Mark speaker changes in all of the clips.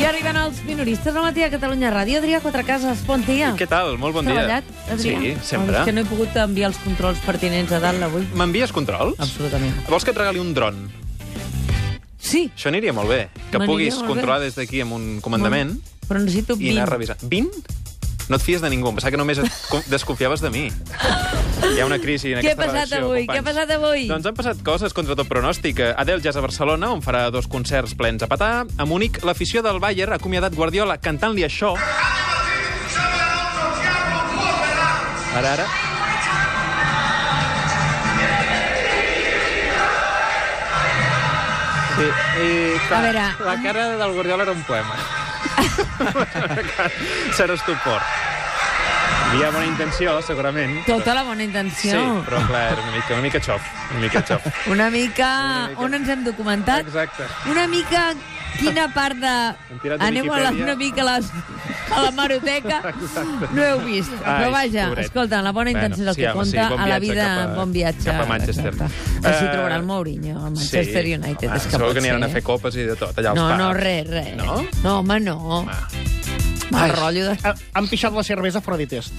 Speaker 1: Ja arriben els minoristes al matí a Catalunya Ràdio. Adrià Quatrecases, bon dia.
Speaker 2: Què tal? Molt bon
Speaker 1: Treballat,
Speaker 2: dia.
Speaker 1: Ah. Adrià?
Speaker 2: Sí, sempre.
Speaker 1: Oh, és que no he pogut enviar els controls pertinents a dalt avui.
Speaker 2: M'envies controls?
Speaker 1: Absolutament.
Speaker 2: Vols que et regali un dron?
Speaker 1: Sí.
Speaker 2: Això aniria molt bé. Que
Speaker 1: M'aniria
Speaker 2: puguis
Speaker 1: molt bé.
Speaker 2: controlar des d'aquí amb un comandament
Speaker 1: Però necessito
Speaker 2: i
Speaker 1: 20.
Speaker 2: anar revisant. 20? No et fies de ningú. Em pensava que només et con- desconfiaves de mi. Hi ha una crisi en
Speaker 1: Què ha
Speaker 2: aquesta
Speaker 1: passat
Speaker 2: redacció,
Speaker 1: avui?
Speaker 2: companys.
Speaker 1: Què ha passat avui?
Speaker 2: Doncs han passat coses contra tot pronòstic. Eh, Adel Jazz a Barcelona, on farà dos concerts plens a petar. A Múnich, l'afició del Bayern ha acomiadat Guardiola cantant-li això. Ara, ara.
Speaker 3: Sí, i clar,
Speaker 1: A veure,
Speaker 3: la cara del Guardiola era un poema.
Speaker 2: Serà estupor.
Speaker 3: Hi havia bona intenció, segurament.
Speaker 1: Tota la bona
Speaker 2: Sí,
Speaker 1: intenció.
Speaker 2: però clar, era una mica, una mica xof. Una mica xof.
Speaker 1: Una mica...
Speaker 3: Una mica.
Speaker 1: On ens hem documentat?
Speaker 3: Exacte.
Speaker 1: Una mica... Quina part de...
Speaker 3: Hem tirat de
Speaker 1: Anem a la,
Speaker 3: Viquipèdia.
Speaker 1: una mica a, les, a la maroteca. No heu vist.
Speaker 2: Ai,
Speaker 1: Però vaja,
Speaker 2: pobret.
Speaker 1: escolta, la bona intenció és el
Speaker 2: sí,
Speaker 1: que
Speaker 2: home, sí,
Speaker 1: compta.
Speaker 2: bon
Speaker 1: a la
Speaker 2: viatge
Speaker 1: vida,
Speaker 2: cap a-
Speaker 1: bon viatge.
Speaker 2: cap a Manchester.
Speaker 1: Exacte. Així
Speaker 2: Eh,
Speaker 1: trobarà el Mourinho, el Manchester United. és
Speaker 2: home,
Speaker 1: que
Speaker 2: segur
Speaker 1: pot
Speaker 2: que aniran
Speaker 1: ser. eh?
Speaker 2: a fer copes i de tot, allà als
Speaker 1: No,
Speaker 2: pubs.
Speaker 1: no, res, res.
Speaker 2: No?
Speaker 1: No, home, no. Mal rotllo de...
Speaker 4: Ha- Han pixat la cervesa fora de test.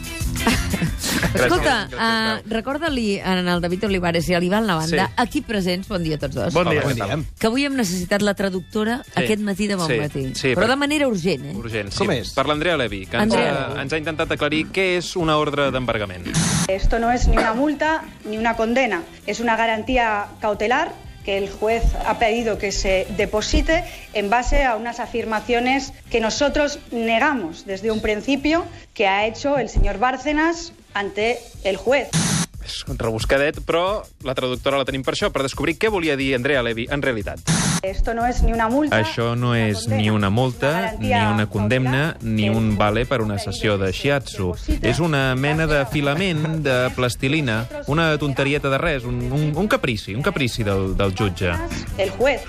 Speaker 1: Escolta,
Speaker 2: gràcies,
Speaker 1: uh, recorda-li en el David Olivares i a l'Ivan Lavanda,
Speaker 2: Sí.
Speaker 1: aquí presents, bon dia a tots dos.
Speaker 4: Bon dia.
Speaker 2: Hola, què tal?
Speaker 1: Que avui hem necessitat la traductora sí. aquest matí de bon
Speaker 2: Sí,
Speaker 1: matí.
Speaker 2: sí,
Speaker 1: Però de
Speaker 2: per-
Speaker 1: manera urgent, eh?
Speaker 2: Urgent, sí.
Speaker 5: Com és?
Speaker 2: Per l'Andrea Levy, que ens,
Speaker 1: Andrea
Speaker 2: ha,
Speaker 1: Levy.
Speaker 2: ens ha intentat aclarir què és una ordre d'embargament.
Speaker 6: Esto no es ni una multa ni una condena, es una garantía cautelar que el juez ha pedido que se deposite en base a unas afirmaciones que nosotros negamos desde un principio que ha hecho el señor Bárcenas ante el juez.
Speaker 2: És un rebuscadet, però la traductora la tenim per això, per descobrir què volia dir Andrea Levy en realitat.
Speaker 6: Esto no es ni una multa.
Speaker 2: Això no
Speaker 6: ni
Speaker 2: és
Speaker 6: condena,
Speaker 2: ni una multa,
Speaker 6: es
Speaker 2: ni una
Speaker 6: garantía
Speaker 2: condemna,
Speaker 6: cautelar
Speaker 2: ni
Speaker 6: que el
Speaker 2: un
Speaker 6: juez
Speaker 2: vale
Speaker 6: ha
Speaker 2: per una
Speaker 6: pedido
Speaker 2: sessió
Speaker 6: que
Speaker 2: de
Speaker 6: se
Speaker 2: shiatsu.
Speaker 6: deposite
Speaker 2: És una
Speaker 6: en base
Speaker 2: mena
Speaker 6: a
Speaker 2: de
Speaker 6: unas
Speaker 2: filament de
Speaker 6: afirmaciones
Speaker 2: plastilina,
Speaker 6: que nosotros
Speaker 2: una
Speaker 6: negamos
Speaker 2: tonterieta de res, un, un, un caprici, un caprici del, del jutge.
Speaker 6: El juez.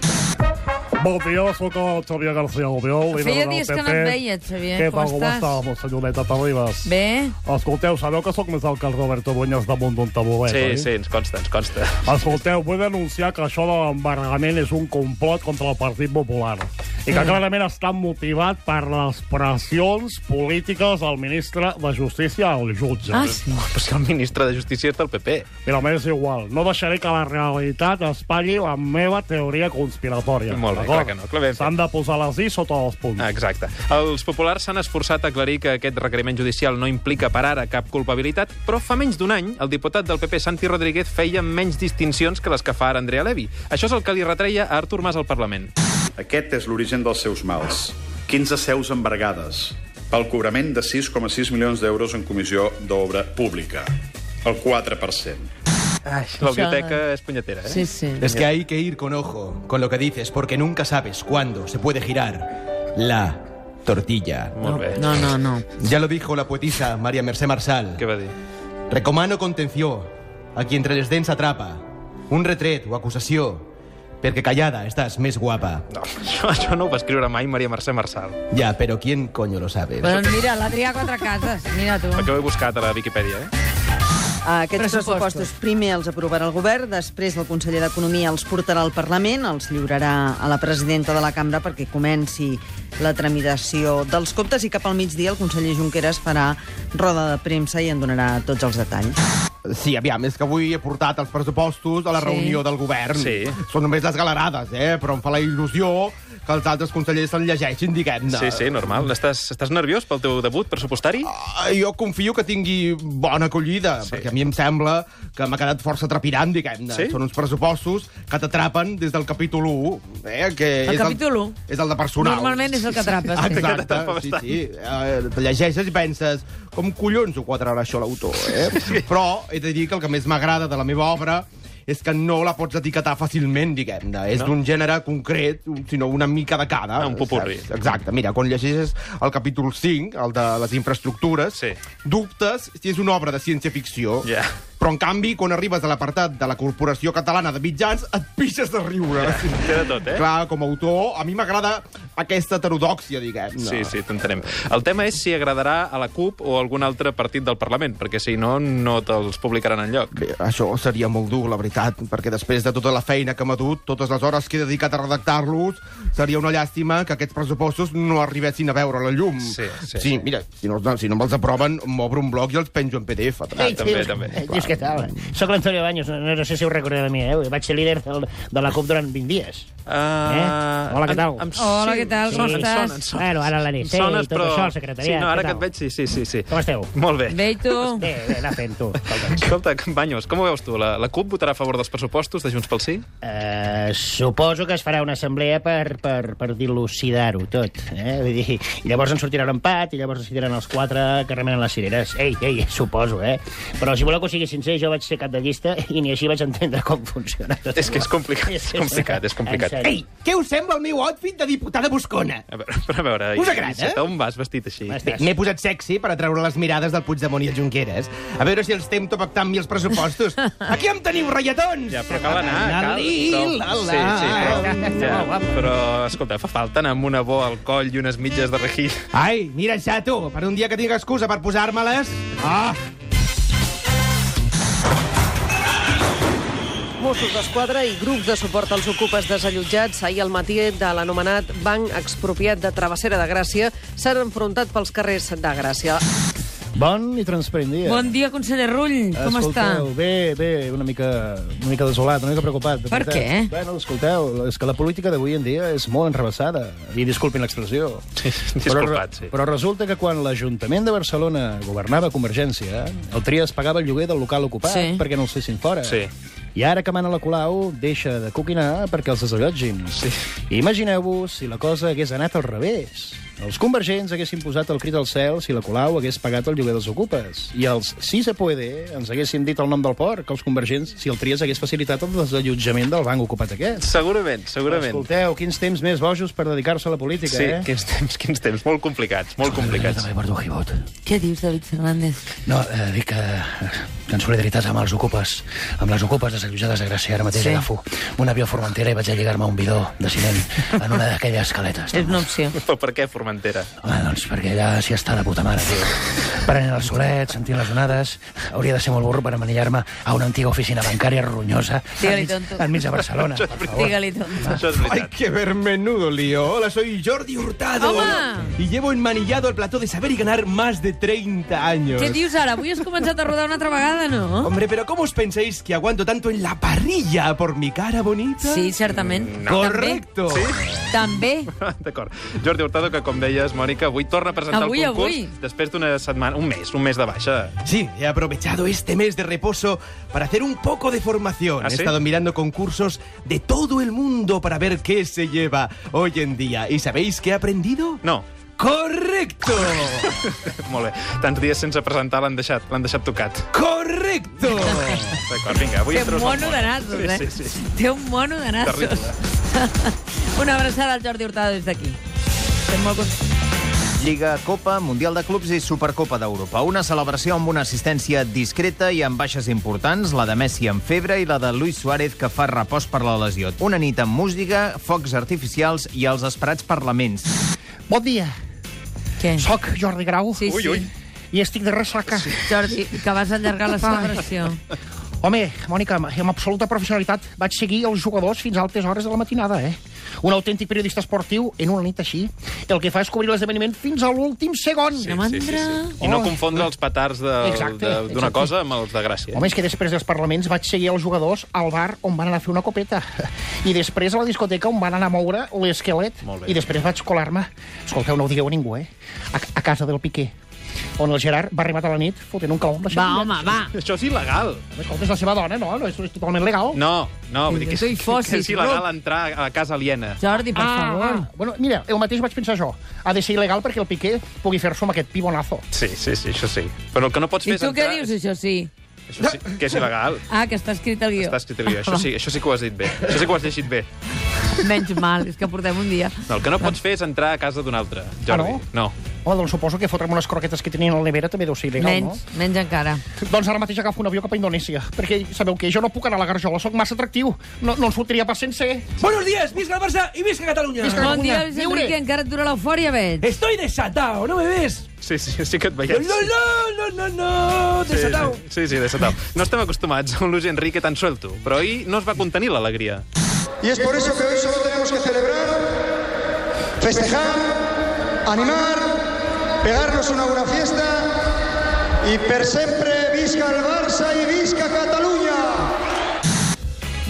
Speaker 7: Bon dia, sóc el Xavier García Albiol. líder
Speaker 1: Feia
Speaker 7: del
Speaker 1: dies que
Speaker 7: PP.
Speaker 1: no et veia, Xavier.
Speaker 7: Què
Speaker 1: Com
Speaker 7: tal, com
Speaker 1: estàs?
Speaker 7: estàs, senyoreta Terribas?
Speaker 1: Bé?
Speaker 7: Escolteu, sabeu que sóc més alt que el Roberto Buñas damunt d'un tabulet,
Speaker 2: Sí,
Speaker 7: oi?
Speaker 2: sí, ens consta, ens consta.
Speaker 7: Escolteu, vull denunciar que això de l'embargament és un complot contra el Partit Popular i
Speaker 1: Mm.
Speaker 7: que clarament està motivat per les pressions polítiques del ministre de Justícia al jutge.
Speaker 1: Ah, sí.
Speaker 2: Però si el ministre de Justícia és del PP.
Speaker 7: Però m'és igual, no deixaré que la realitat espatlli la meva teoria conspiratòria.
Speaker 2: Molt bé,
Speaker 7: d'acord?
Speaker 2: clar que no, Ah, clar, ben fet.
Speaker 7: S'han de posar les i sota els punts.
Speaker 2: Exacte. Els populars s'han esforçat a aclarir que aquest requeriment judicial no implica per ara cap culpabilitat, però fa menys d'un any el diputat del PP, Santi Rodríguez, feia menys distincions que les que fa ara Andrea Levy. Això és el que li retreia a Artur Mas al Parlament.
Speaker 8: Aquest és l'origen dels seus mals. 15 seus embargades pel cobrament de 6,6 milions d'euros en comissió d'obra pública. El 4%.
Speaker 2: Ai, la biblioteca és punyetera, eh?
Speaker 1: Sí, sí.
Speaker 5: Es que hay que ir con ojo con lo que dices, porque nunca sabes cuándo se puede girar la tortilla.
Speaker 2: Molt bé.
Speaker 1: No, no, no.
Speaker 5: Ya lo dijo la poetisa María Mercé Marsal.
Speaker 2: Què va dir?
Speaker 5: Recomano contenció a qui entre les dents atrapa un retret o acusació perquè callada estàs més guapa.
Speaker 2: No, això, això no ho va escriure mai Maria Mercè Marçal.
Speaker 5: Ja, però ¿quién coño lo sabe?
Speaker 1: Doncs mira, l'Adrià Quatrecases, mira tu.
Speaker 2: Perquè ho he buscat a la Viquipèdia, eh?
Speaker 9: Aquests
Speaker 1: Pressupostos.
Speaker 9: pressupostos. primer els aprovarà el govern, després el conseller d'Economia els portarà al Parlament, els lliurarà a la presidenta de la cambra perquè comenci la tramitació dels comptes i cap al migdia el conseller Junqueras farà roda de premsa i en donarà tots els detalls.
Speaker 10: Sí, aviam, és que avui he portat els pressupostos a la
Speaker 1: Sí.
Speaker 10: sí. reunió del govern.
Speaker 2: Sí.
Speaker 10: Són només les galerades, eh? Però em fa la il·lusió que els altres consellers se'n llegeixin, diguem-ne.
Speaker 2: Sí, sí, normal. Estàs, estàs nerviós pel teu debut pressupostari?
Speaker 10: Ah, Jo confio que tingui bona acollida, sí. perquè a mi em sembla que m'ha quedat força trepidant, diguem-ne.
Speaker 2: Sí?
Speaker 10: Són uns pressupostos que t'atrapen des del capítol 1, eh? Que
Speaker 1: El
Speaker 10: és
Speaker 1: capítol 1.
Speaker 10: El, és el de personal.
Speaker 1: Normalment és el que atrapes.
Speaker 10: Ah,
Speaker 1: sí.
Speaker 10: Exacte,
Speaker 2: T'atrapa
Speaker 10: sí,
Speaker 2: bastant.
Speaker 10: sí. Eh, Te llegeixes i penses com collons ho quadrarà això l'autor, eh? Però he de dir que el que més m'agrada de la meva obra és que no la pots etiquetar fàcilment, diguem-ne. És d'un gènere concret, sinó una mica de cada.
Speaker 2: Ah, un popurri.
Speaker 10: saps? Exacte. Mira, quan llegeixes el capítol 5, el de les infraestructures,
Speaker 2: Sí.
Speaker 10: dubtes si és una obra de ciència-ficció
Speaker 2: Ja.
Speaker 10: Però, en canvi, quan arribes a l'apartat de la Corporació Catalana de Mitjans, et pixes de riure.
Speaker 2: Té de tot, eh?
Speaker 10: Clar, com a autor, a mi m'agrada aquesta heterodòxia, diguem-ne.
Speaker 2: Sí, sí, t'entenem. El tema és si agradarà a la CUP o a algun altre partit del Parlament, perquè si no, no te'ls publicaran enlloc.
Speaker 4: Eh?
Speaker 10: Bé, això seria molt dur, la veritat, perquè després de tota la feina que m'ha dut, totes les hores que he dedicat a redactar-los, seria una llàstima que aquests pressupostos no arribessin a veure la llum.
Speaker 2: Sí, sí.
Speaker 10: sí mira, si no, si no me'ls aproven, m'obro un blog i els penjo en PDF.
Speaker 2: Ah, també, també.
Speaker 4: Eh, dius què tal? Soc l'Antonio Baños, no, no sé si us recordeu de mi, eh? Vaig ser líder del, de la CUP durant 20 dies.
Speaker 2: Ah,
Speaker 4: Eh? Hola, què tal?
Speaker 2: em- em-
Speaker 1: Hola, què tal? Com
Speaker 2: em sona,
Speaker 1: estàs?
Speaker 2: em sona, em
Speaker 4: Bueno, ara a la
Speaker 2: sona.
Speaker 4: nit.
Speaker 2: Em
Speaker 4: Sí,
Speaker 2: sones,
Speaker 4: i tot
Speaker 2: però...
Speaker 4: això, el secretariat.
Speaker 2: Sí, no, ara
Speaker 4: què
Speaker 2: que et
Speaker 4: tal?
Speaker 2: veig, sí, sí, sí. sí.
Speaker 4: Com esteu?
Speaker 2: Molt bé.
Speaker 1: Bé, i tu?
Speaker 4: Bé, bé, anar fent, tu. escolta'm.
Speaker 2: Escolta, Banyos, com ho veus tu? La, la CUP votarà a favor dels pressupostos de Junts pel Sí?
Speaker 4: Eh, suposo que es farà una assemblea per, per, per dilucidar-ho tot. Eh? Vull dir, i llavors en sortirà un empat i llavors decidiran els quatre que remenen les cireres. Ei, ei, suposo, eh? Però si voleu que ho sigui sincer, jo vaig ser cap de llista i ni així vaig entendre com funciona tot.
Speaker 2: És que és complicat, és complicat, és complicat.
Speaker 4: En sèrio.
Speaker 5: Ei, què us sembla el meu outfit de diputada buscona?
Speaker 2: A veure, però a veure...
Speaker 5: Us agrada?
Speaker 2: Iceta, on vas vestit així?
Speaker 4: M'estàs-
Speaker 5: Bé, M'he posat sexy per atraure les mirades del Puigdemont i el Junqueras. A veure si els tempto pactant mi els pressupostos. Aquí em teniu, reietons!
Speaker 2: Ja, però cal anar,
Speaker 5: La
Speaker 2: cal...
Speaker 5: li,
Speaker 2: Però...
Speaker 5: la la.
Speaker 2: Sí, sí, però... Ja, però, escolta, fa falta anar amb una bo al coll i unes mitges de rejil.
Speaker 5: Ai, mira, xato, per un dia que tinc excusa per posar-me-les... Ah!
Speaker 11: Mossos d'Esquadra i grups de suport als ocupes desallotjats ahir al matí de l'anomenat Banc Expropiat de Travessera de Gràcia s'han enfrontat pels carrers de Gràcia.
Speaker 4: Bon i transparent dia.
Speaker 1: Bon dia, conseller Rull. Com
Speaker 4: escolteu,
Speaker 1: està?
Speaker 4: Bé, bé, una mica, una mica desolat, una mica preocupat. de
Speaker 1: Per
Speaker 4: veritat.
Speaker 1: què?
Speaker 4: Bueno, escolteu, és que la política d'avui en dia és molt enrevessada, i disculpin l'expressió.
Speaker 2: Sí,
Speaker 4: però,
Speaker 2: disculpat, sí.
Speaker 4: Però resulta que quan l'Ajuntament de Barcelona governava Convergència, el Trias pagava el lloguer del local ocupat
Speaker 1: Sí.
Speaker 4: perquè no el fessin fora.
Speaker 2: Sí.
Speaker 4: I ara que mana la Colau, deixa de coquinar perquè els desallotgin.
Speaker 2: Sí.
Speaker 4: Imagineu-vos si la cosa hagués anat al revés. Els convergents haguessin posat el crit al cel si la Colau hagués pagat el lloguer dels ocupes. I els si se puede E ens haguessin dit el nom del porc, els convergents, si el Trias hagués facilitat el desallotjament del banc ocupat aquest.
Speaker 2: Segurament, segurament.
Speaker 4: Escolteu, quins temps més bojos per dedicar-se a la política,
Speaker 2: Sí,
Speaker 4: eh?
Speaker 2: quins temps, quins temps. Molt complicats, molt complicats.
Speaker 4: Eduardo Gibot.
Speaker 1: Què dius, David Fernández?
Speaker 4: No, eh, dic que, que en solidaritat amb els ocupes, amb les ocupes desallotjades de Gràcia, ara mateix
Speaker 1: Sí.
Speaker 4: sí. agafo un avió a Formentera i vaig a lligar-me un bidó de ciment en una d'aquelles escaletes.
Speaker 1: És una opció.
Speaker 2: Però per què Formentera?
Speaker 4: Home, doncs perquè allà s'hi està de puta mare, tio. Prenent el solet, sentint les onades... Hauria de ser molt burro per amanillar-me a una antiga oficina bancària ronyosa
Speaker 1: Digue-li,
Speaker 4: enmig,
Speaker 1: tonto.
Speaker 4: enmig de Barcelona, per favor.
Speaker 1: Digue-li, tonto.
Speaker 2: Això és
Speaker 5: Hay
Speaker 2: veritat.
Speaker 5: que ver menudo lío. Hola, soy Jordi Hurtado.
Speaker 1: Hola.
Speaker 5: Y llevo enmanillado el plató de saber y ganar más de 30 años.
Speaker 1: Què dius ara? Avui has començat a rodar una altra vegada, no?
Speaker 5: Hombre, pero ¿cómo os pensáis que aguanto tanto en la parrilla por mi cara bonita?
Speaker 1: Sí, certament.
Speaker 5: Correcto.
Speaker 1: També.
Speaker 2: D'acord. Jordi Hurtado, que com deies, Mònica, avui torna a presentar
Speaker 1: Avui,
Speaker 2: el concurs
Speaker 1: avui.
Speaker 2: després d'una setmana, un mes, un mes de baixa.
Speaker 5: Sí, he aprovechado este mes de reposo para hacer un poco de formación.
Speaker 2: ¿Ah,
Speaker 5: he
Speaker 2: sí?
Speaker 5: estado mirando concursos de todo el mundo para ver qué se lleva hoy en día. ¿Y sabéis qué he aprendido?
Speaker 2: No,
Speaker 5: ¡Correcto!
Speaker 2: molt bé. Tants dies sense presentar l'han deixat, l'han deixat tocat.
Speaker 5: ¡Correcto!
Speaker 2: D'acord, vinga, avui
Speaker 1: Té
Speaker 2: entres
Speaker 1: un
Speaker 2: al
Speaker 1: mono
Speaker 2: món.
Speaker 1: de nassos, eh?
Speaker 2: Sí, sí, sí.
Speaker 1: Té un mono de nassos.
Speaker 2: Terrible.
Speaker 1: Una abraçada al Jordi Hurtado des d'aquí. Estem molt contents.
Speaker 12: Lliga, Copa, Mundial de Clubs i Supercopa d'Europa. Una celebració amb una assistència discreta i amb baixes importants, la de Messi amb febre i la de Luis Suárez, que fa repòs per la lesió. Una nit amb música, focs artificials i els esperats parlaments.
Speaker 4: Bon dia,
Speaker 1: Què?
Speaker 4: sóc Jordi Grau
Speaker 1: Sí, sí.
Speaker 4: i estic de ressaca. Sí.
Speaker 1: Jordi, que vas allargar la celebració.
Speaker 4: Home, Mònica, amb- amb absoluta professionalitat vaig seguir els jugadors fins a altes hores de la matinada, eh? Un autèntic periodista esportiu, en una nit així, el que fa és cobrir l'esdeveniment fins a l'últim segon. Sí,
Speaker 1: Mandra.
Speaker 2: I no
Speaker 4: Oh.
Speaker 2: confondre els petards del-
Speaker 4: Exacte,
Speaker 2: de- d'una
Speaker 4: exacte.
Speaker 2: cosa amb els de Gràcia.
Speaker 4: Home, és que després dels parlaments vaig seguir els jugadors al bar on van anar a fer una copeta. I després a la discoteca on van anar a moure l'esquelet.
Speaker 2: Molt bé.
Speaker 4: I després vaig colar-me. Escolteu, no ho digueu a ningú, eh? A, a casa del Piqué, on el Gerard va arribar a la nit fotent un calon.
Speaker 1: Va, home, va.
Speaker 2: Això és il·legal.
Speaker 4: Escolta, és la seva dona, no? No, és, és totalment legal.
Speaker 2: No, no, vull dir que,
Speaker 1: Tu hi
Speaker 2: és- que
Speaker 1: fossis,
Speaker 2: és il·legal
Speaker 1: no?
Speaker 2: entrar a la casa aliena.
Speaker 1: Jordi,
Speaker 4: Ah,
Speaker 1: per favor.
Speaker 4: Bueno, mira, el mateix vaig pensar jo. Ha de ser il·legal perquè el Piqué pugui fer-s'ho amb aquest pibonazo.
Speaker 2: Sí, sí, sí, això sí. Però el que no pots fer
Speaker 1: I
Speaker 2: és
Speaker 1: tu què
Speaker 2: entrar...
Speaker 1: dius, això sí?
Speaker 2: Això sí, que és il·legal.
Speaker 1: Ah, que està escrit al guió. Ah,
Speaker 2: Està escrit al guió. Això sí, això sí que ho has dit bé. Això sí que ho has llegit bé.
Speaker 1: Menys mal, és que portem un dia.
Speaker 2: No, el que no pots fer és entrar a casa d'un altre, Jordi.
Speaker 4: Ah,
Speaker 2: no?
Speaker 4: Home, doncs suposo que fotre'm unes croquetes que tenien a la nevera també deu ser il·legal,
Speaker 1: Menys,
Speaker 4: no?
Speaker 1: menys encara.
Speaker 4: Doncs ara mateix agafo un avió cap a Indonèsia, perquè sabeu que jo no puc anar a la Garjola, sóc massa atractiu. No, no en sortiria pas sense... eh?
Speaker 13: Buenos días, visca el Barça i visca Catalunya.
Speaker 1: Doncs Bon dia, Luis Enrique, encara et dura l'eufòria, veig.
Speaker 2: Eh.
Speaker 13: Estoy desatado, no me ves?
Speaker 2: Sí, sí, sí que et
Speaker 13: No,
Speaker 2: veiem.
Speaker 13: no, no, no, no,
Speaker 2: Sí,
Speaker 13: desatado.
Speaker 2: Sí, sí, sí desatau. No estem acostumats a un Luis Enrique tan suelto, però ahir no es va contenir l'alegria.
Speaker 14: Y es por eso que hoy solo tenemos que celebrar, festejar, animar, pegarnos una buena fiesta y per siempre visca el Barça y visca Cataluña.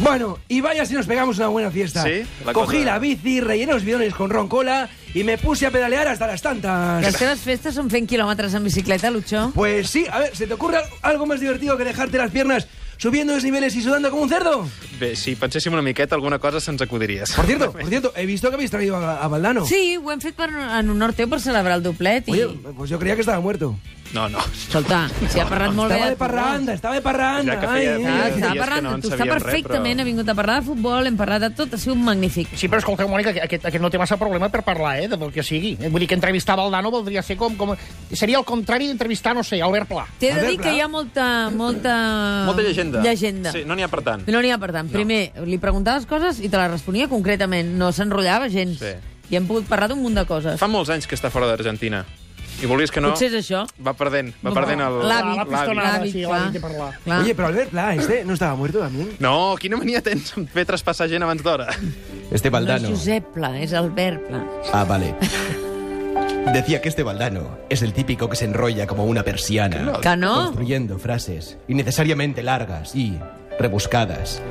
Speaker 13: Bueno, y vaya si nos pegamos una buena fiesta.
Speaker 2: Sí, la
Speaker 13: Cogí
Speaker 2: cosa-
Speaker 13: la bici, rellené los bidones con roncola y me puse a pedalear hasta las tantas.
Speaker 1: Les teves festes són fent quilòmetres en bicicleta, Lucho?
Speaker 13: Pues sí, a ver, ¿se te ocurre al- algo más divertido que dejarte las piernas subiendo desniveles y sudando como un cerdo?
Speaker 2: Bé, si penséssim una miqueta, alguna cosa se'ns acudiria.
Speaker 13: Por cierto, por cierto, he visto que habéis traído a, a Valdano.
Speaker 1: Sí, ho hem fet per, en honor teu per celebrar el doblet. I...
Speaker 13: Oye, pues yo creía que estaba muerto.
Speaker 2: No, no.
Speaker 1: Escolta, si ha parlat molt
Speaker 13: estava
Speaker 1: bé...
Speaker 13: de parranda, estava de parranda.
Speaker 2: Ja que feia-
Speaker 13: ai,
Speaker 2: feia
Speaker 13: ai, ai.
Speaker 2: dies que no
Speaker 1: Parlant,
Speaker 2: en
Speaker 1: tu està
Speaker 2: sabíem res,
Speaker 1: perfectament,
Speaker 2: però-
Speaker 1: ha vingut a parlar de futbol, hem parlat de tot, ha sigut magnífic.
Speaker 4: Sí, però escolteu, Mònica, que aquest, aquest no té massa problema per parlar, eh, del que sigui. Vull dir que entrevistar Valdano voldria ser com... com seria el contrari d'entrevistar, no sé, Albert Pla.
Speaker 1: T'he de dir que hi ha molta... Molta,
Speaker 2: Molta llegenda.
Speaker 1: Llegenda.
Speaker 2: Sí, no n'hi ha per tant.
Speaker 1: No n'hi ha per tant. Primer, li preguntaves coses i te les responia concretament. No s'enrotllava gens.
Speaker 2: Sí.
Speaker 1: I hem pogut parlar d'un munt de coses.
Speaker 2: Fa molts anys que està fora d'Argentina. I vulguis que no...
Speaker 1: Potser és això.
Speaker 2: Va perdent, va
Speaker 1: No,
Speaker 2: perdent el...
Speaker 1: l'hàbit. La pistonada,
Speaker 2: l'hàbit.
Speaker 1: sí, l'hàbit de
Speaker 4: parlar.
Speaker 13: Oye, pero Albert Pla, este no estaba muerto también.
Speaker 2: No, quina mania tens en fer traspassar gent abans d'hora?
Speaker 5: Este
Speaker 1: No és
Speaker 5: Valdano.
Speaker 1: Josep Pla, és Albert Pla.
Speaker 5: Ah, vale. Decía que este Valdano es el típico que se enrolla como una persiana.
Speaker 1: ¿Que no?
Speaker 5: Construyendo frases innecesariamente largas y rebuscadas.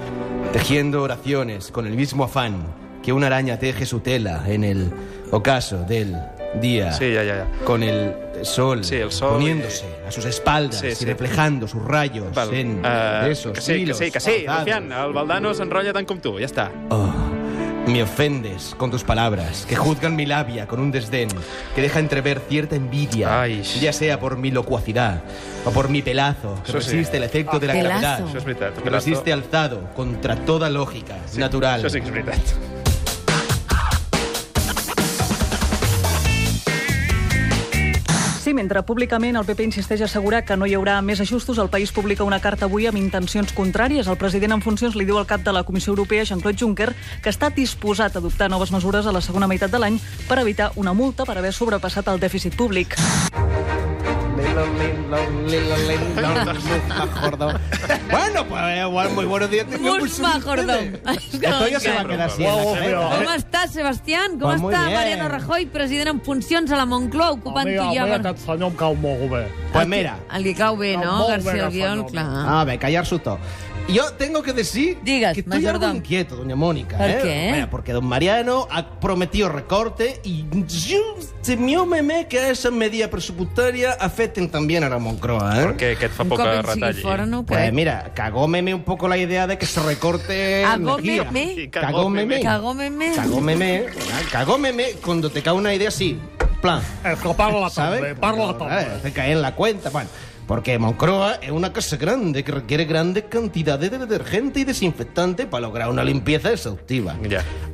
Speaker 5: Tejiendo oraciones con el mismo afán que una araña teje su tela en el ocaso del día.
Speaker 2: Sí, ja, ja, ja.
Speaker 5: Con el sol,
Speaker 2: Sí, el sol,
Speaker 5: poniéndose a sus espaldas
Speaker 2: Sí, sí.
Speaker 5: y reflejando sus rayos
Speaker 2: Val.
Speaker 5: en
Speaker 2: Eh,
Speaker 5: esos
Speaker 2: que sí, que
Speaker 5: hilos
Speaker 2: sí, que sí,
Speaker 5: cortados.
Speaker 2: Lucian, el Valdano s'enrotlla tant com tu, ja està.
Speaker 5: Oh, me ofendes con tus palabras, que juzgan mi labia con un desdén, que deja entrever cierta envidia, ya sea por mi locuacidad o por mi pelazo, que
Speaker 2: Eso sí.
Speaker 5: resiste el efecto de la
Speaker 2: Pelazo.
Speaker 5: gravedad,
Speaker 2: Eso es veritat,
Speaker 5: que
Speaker 2: pelazo.
Speaker 5: resiste alzado contra toda lógica natural.
Speaker 2: Això sí que és veritat.
Speaker 15: Sí, mentre públicament el PP insisteix a assegurar que no hi haurà més ajustos, el país publica una carta avui amb intencions contràries. El president en funcions li diu al cap de la Comissió Europea, Jean-Claude Juncker, que està disposat a adoptar noves mesures a la segona meitat de l'any per evitar una multa per haver sobrepassat el dèficit públic.
Speaker 16: Bueno, pues eh, bueno, muy buenos días.
Speaker 1: Mus Majordom.
Speaker 16: Esto ya se va a quedar así en la carrera.
Speaker 1: Com està, Sebastián? Com
Speaker 7: Va muy
Speaker 1: està
Speaker 7: bien.
Speaker 1: Mariano Rajoy, president en funcions a la Moncloa, ocupant tu
Speaker 7: Mira,
Speaker 1: ja...
Speaker 7: mira, aquest senyor em cau molt bé.
Speaker 16: Pues mira,
Speaker 1: El que cau bé, no?
Speaker 16: molt bé,
Speaker 1: García Albiol,
Speaker 16: Rajoy.
Speaker 1: clar.
Speaker 16: A ver, callarse todo. Yo tengo que decir que estoy algo
Speaker 1: majordom.
Speaker 16: inquieto, doña Mónica.
Speaker 1: ¿Por
Speaker 16: ¿eh?
Speaker 1: qué?
Speaker 16: Bueno, porque don Mariano ha prometido recorte y yo temiómeme que esa medida presupuestaria afecten también a la Moncloa. ¿eh?
Speaker 2: Perquè aquest fa poca retall.
Speaker 16: Pues mira, cagómeme un poco la idea de que se recorte
Speaker 1: Agómeme.
Speaker 16: energía. Cagómeme.
Speaker 1: Cagómeme.
Speaker 16: Cagómeme. Cagómeme ¿eh? cuando te cae una idea así. Plan.
Speaker 7: És Eh, que parla
Speaker 16: ¿Sabes?
Speaker 7: també, parla també.
Speaker 16: Eh, te cae en la cuenta. Bueno, porque Moncroa es una casa grande que requiere grandes cantidades de detergente y desinfectante para lograr una limpieza exhaustiva.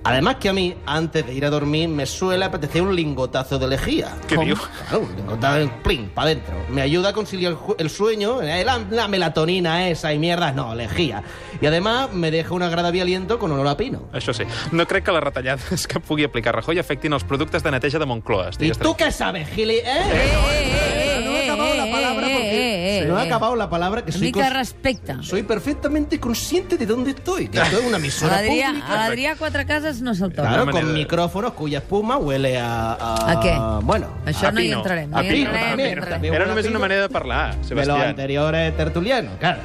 Speaker 16: Además que a mí, antes de ir a dormir, me suele apetecer un lingotazo de lejía.
Speaker 2: ¿Qué
Speaker 16: Con-
Speaker 2: digo?
Speaker 16: Claro, un lingotazo en plin, para adentro. Me ayuda a conciliar el, ju- el sueño, eh, la, la melatonina esa y mierdas, no, lejía. Y además me deja un agradable aliento con olor a pino.
Speaker 2: Això sí. No crec que les retallades que pugui aplicar Rajoy afectin els productes de neteja de Moncloa.
Speaker 16: ¿Y
Speaker 2: Estigues
Speaker 16: tú qué sabes, Gili? ¿Eh?
Speaker 1: No he
Speaker 16: acabado la palabra
Speaker 1: eh,
Speaker 16: porque- no he acabado la palabra que
Speaker 1: Una
Speaker 16: soy
Speaker 1: mica de
Speaker 16: cons-
Speaker 1: respecte.
Speaker 16: Soy perfectamente consciente de dónde estoy. Que esto es una
Speaker 1: A
Speaker 16: emisora
Speaker 1: l'Adrià, a
Speaker 16: pública.
Speaker 1: l'Adrià Quatre Cases no se'l toca.
Speaker 16: Claro, con micrófonos cuya espuma huele a... ¿A,
Speaker 1: ¿A qué?
Speaker 16: Bueno,
Speaker 1: Això no hi entrarem, no
Speaker 16: A
Speaker 1: hi
Speaker 16: pino,
Speaker 1: entrarem,
Speaker 16: también,
Speaker 1: no hi entrarem.
Speaker 16: también
Speaker 2: Era
Speaker 16: huele a
Speaker 2: només
Speaker 16: pino
Speaker 2: una manera de parlar,
Speaker 16: de los
Speaker 2: Sebastián.
Speaker 16: anteriores tertulianos, claro.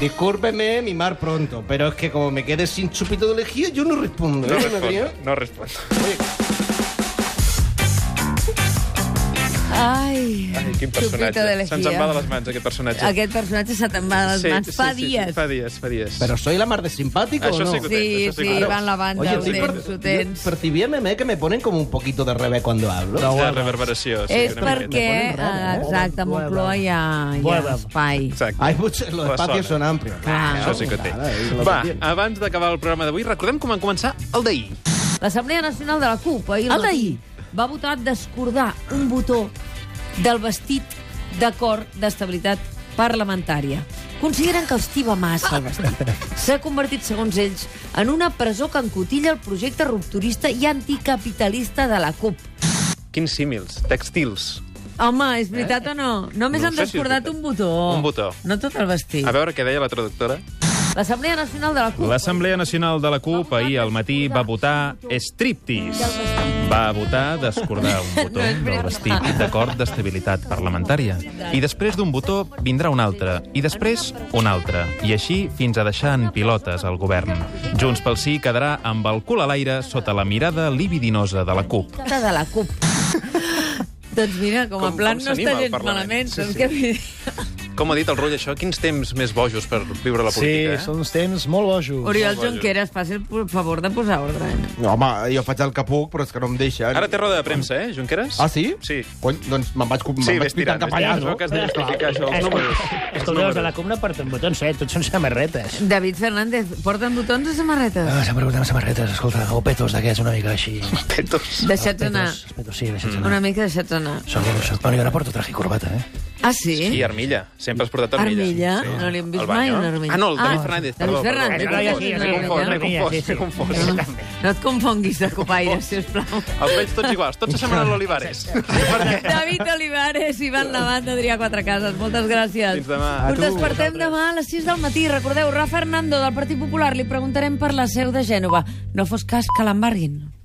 Speaker 16: Discúlpeme mimar pronto, pero es que como me quede sin chupito de lejía, yo no respondo.
Speaker 2: No
Speaker 16: ¿eh,
Speaker 2: respon,
Speaker 16: Adrián?
Speaker 2: no respon.
Speaker 1: Ai,
Speaker 2: Ai, quin
Speaker 1: Chupito de
Speaker 2: personatge.
Speaker 1: lejía.
Speaker 2: Se'ns en va de les mans, aquest personatge.
Speaker 1: aquest personatge se te'n va de les mans fa dies.
Speaker 2: fa dies, fa dies.
Speaker 16: Pero soy la más de simpático,
Speaker 2: Això
Speaker 16: ¿o no?
Speaker 2: sí Ah, que ho tens, Sí, això sí que sí, ho tens. va en la banda,
Speaker 16: Oye,
Speaker 2: ho
Speaker 16: estoy
Speaker 2: tens,
Speaker 16: per-
Speaker 1: ho tens.
Speaker 16: yo percibí, meme, que me ponen como un poquito de revés cuando hablo.
Speaker 2: De reverberació, sí,
Speaker 1: És
Speaker 2: una miqueta.
Speaker 1: perquè, eh, exacte, a Moncloa hi ha, hi ha
Speaker 2: Nueva.
Speaker 1: espai.
Speaker 2: Exacte.
Speaker 16: Hay muchos, los
Speaker 2: La
Speaker 16: espacios
Speaker 2: zona.
Speaker 16: son amplios.
Speaker 1: Clar.
Speaker 2: Això sí que té. Va, abans d'acabar el programa d'avui, recordem com van començar el d'ahir.
Speaker 1: L'Assemblea Nacional de la CUP ahir al matí va votar descordar un botó del vestit d'acord d'estabilitat parlamentària. Consideren que estiva massa el vestit. S'ha convertit, segons ells, en una presó que encotilla el projecte rupturista i anticapitalista de la CUP.
Speaker 2: Quins símils, textils.
Speaker 1: Home, és veritat o no? Només
Speaker 2: Eh? No
Speaker 1: han
Speaker 2: sé si és
Speaker 1: descordat un botó.
Speaker 2: Un botó.
Speaker 1: No tot el vestit.
Speaker 2: A veure què deia la traductora.
Speaker 1: L'Assemblea Nacional de la CUP.
Speaker 2: L'Assemblea Nacional de la CUP ahir al matí va votar striptease. Va votar descordar un botó del vestit d'acord d'estabilitat parlamentària. I després d'un botó vindrà un altre, i després un altre. I així fins a deixar en pilotes el govern. Junts pel Sí quedarà amb el cul a l'aire sota la mirada libidinosa de la CUP.
Speaker 1: de la CUP. doncs mira, com, a
Speaker 2: Com-
Speaker 1: plan
Speaker 2: com
Speaker 1: no
Speaker 2: s'anima
Speaker 1: està
Speaker 2: el
Speaker 1: gens
Speaker 2: Parlament.
Speaker 1: malament. doncs
Speaker 2: Sí,
Speaker 1: Sí,
Speaker 2: sí.
Speaker 1: sí.
Speaker 2: Com ha dit el Rull, això? Quins temps més bojos per viure la
Speaker 17: Sí,
Speaker 2: política, eh?
Speaker 17: són uns temps molt bojos.
Speaker 1: Oriol Junqueras, faci el favor de posar ordre. eh?
Speaker 10: No, home, jo faig el que puc, però és que no em deixen.
Speaker 2: Ara té roda de premsa, eh, Junqueras?
Speaker 10: Ah, sí?
Speaker 2: Sí.
Speaker 10: Cony, doncs me'n vaig, me'n
Speaker 2: Sí,
Speaker 10: vaig
Speaker 2: vés tirant,
Speaker 10: pitant cap
Speaker 2: vés
Speaker 10: allà,
Speaker 2: tirant,
Speaker 10: no?
Speaker 2: és el que has d'identificar, això, els
Speaker 4: Es-
Speaker 2: números.
Speaker 4: Els
Speaker 2: Els
Speaker 4: colors de
Speaker 2: números.
Speaker 4: la CUP no porten botons, eh? Tots són samarretes.
Speaker 1: David Fernández, porten botons o samarretes?
Speaker 17: Ah, sempre portem samarretes, escolta, o petos d'aquests, una mica així.
Speaker 2: Petos.
Speaker 1: Deixats anar.
Speaker 17: Els petos, sí, deixats anar.
Speaker 1: Una mica deixats anar.
Speaker 17: Sort que no soc. Bueno, jo ara porto traje i corbata, eh?
Speaker 1: Ah, sí?
Speaker 2: I armilla. Sempre has portat armilla.
Speaker 1: Armilla? No li hem vist
Speaker 2: Al bany,
Speaker 1: mai
Speaker 2: no?
Speaker 1: una armilla.
Speaker 2: Ah, no, el David
Speaker 1: Ah,
Speaker 2: Fernández,
Speaker 1: David
Speaker 2: perdó, perdó.
Speaker 1: Fernández.
Speaker 2: M'he confós, m'he confós, m'he confós, m'he confós.
Speaker 1: No et confonguis de copaire, sisplau.
Speaker 2: Els veig tots iguals, tots s'assemblen a l'Olivares.
Speaker 1: David Olivares, Ivan Lavat, Adrià Quatrecases. Moltes gràcies.
Speaker 2: Fins demà. A
Speaker 1: Us
Speaker 2: tu.
Speaker 1: despertem demà a les 6 del matí. Recordeu, Rafa Hernando, del Partit Popular, li preguntarem per la seu de Gènova. No fos cas que l'embarguin.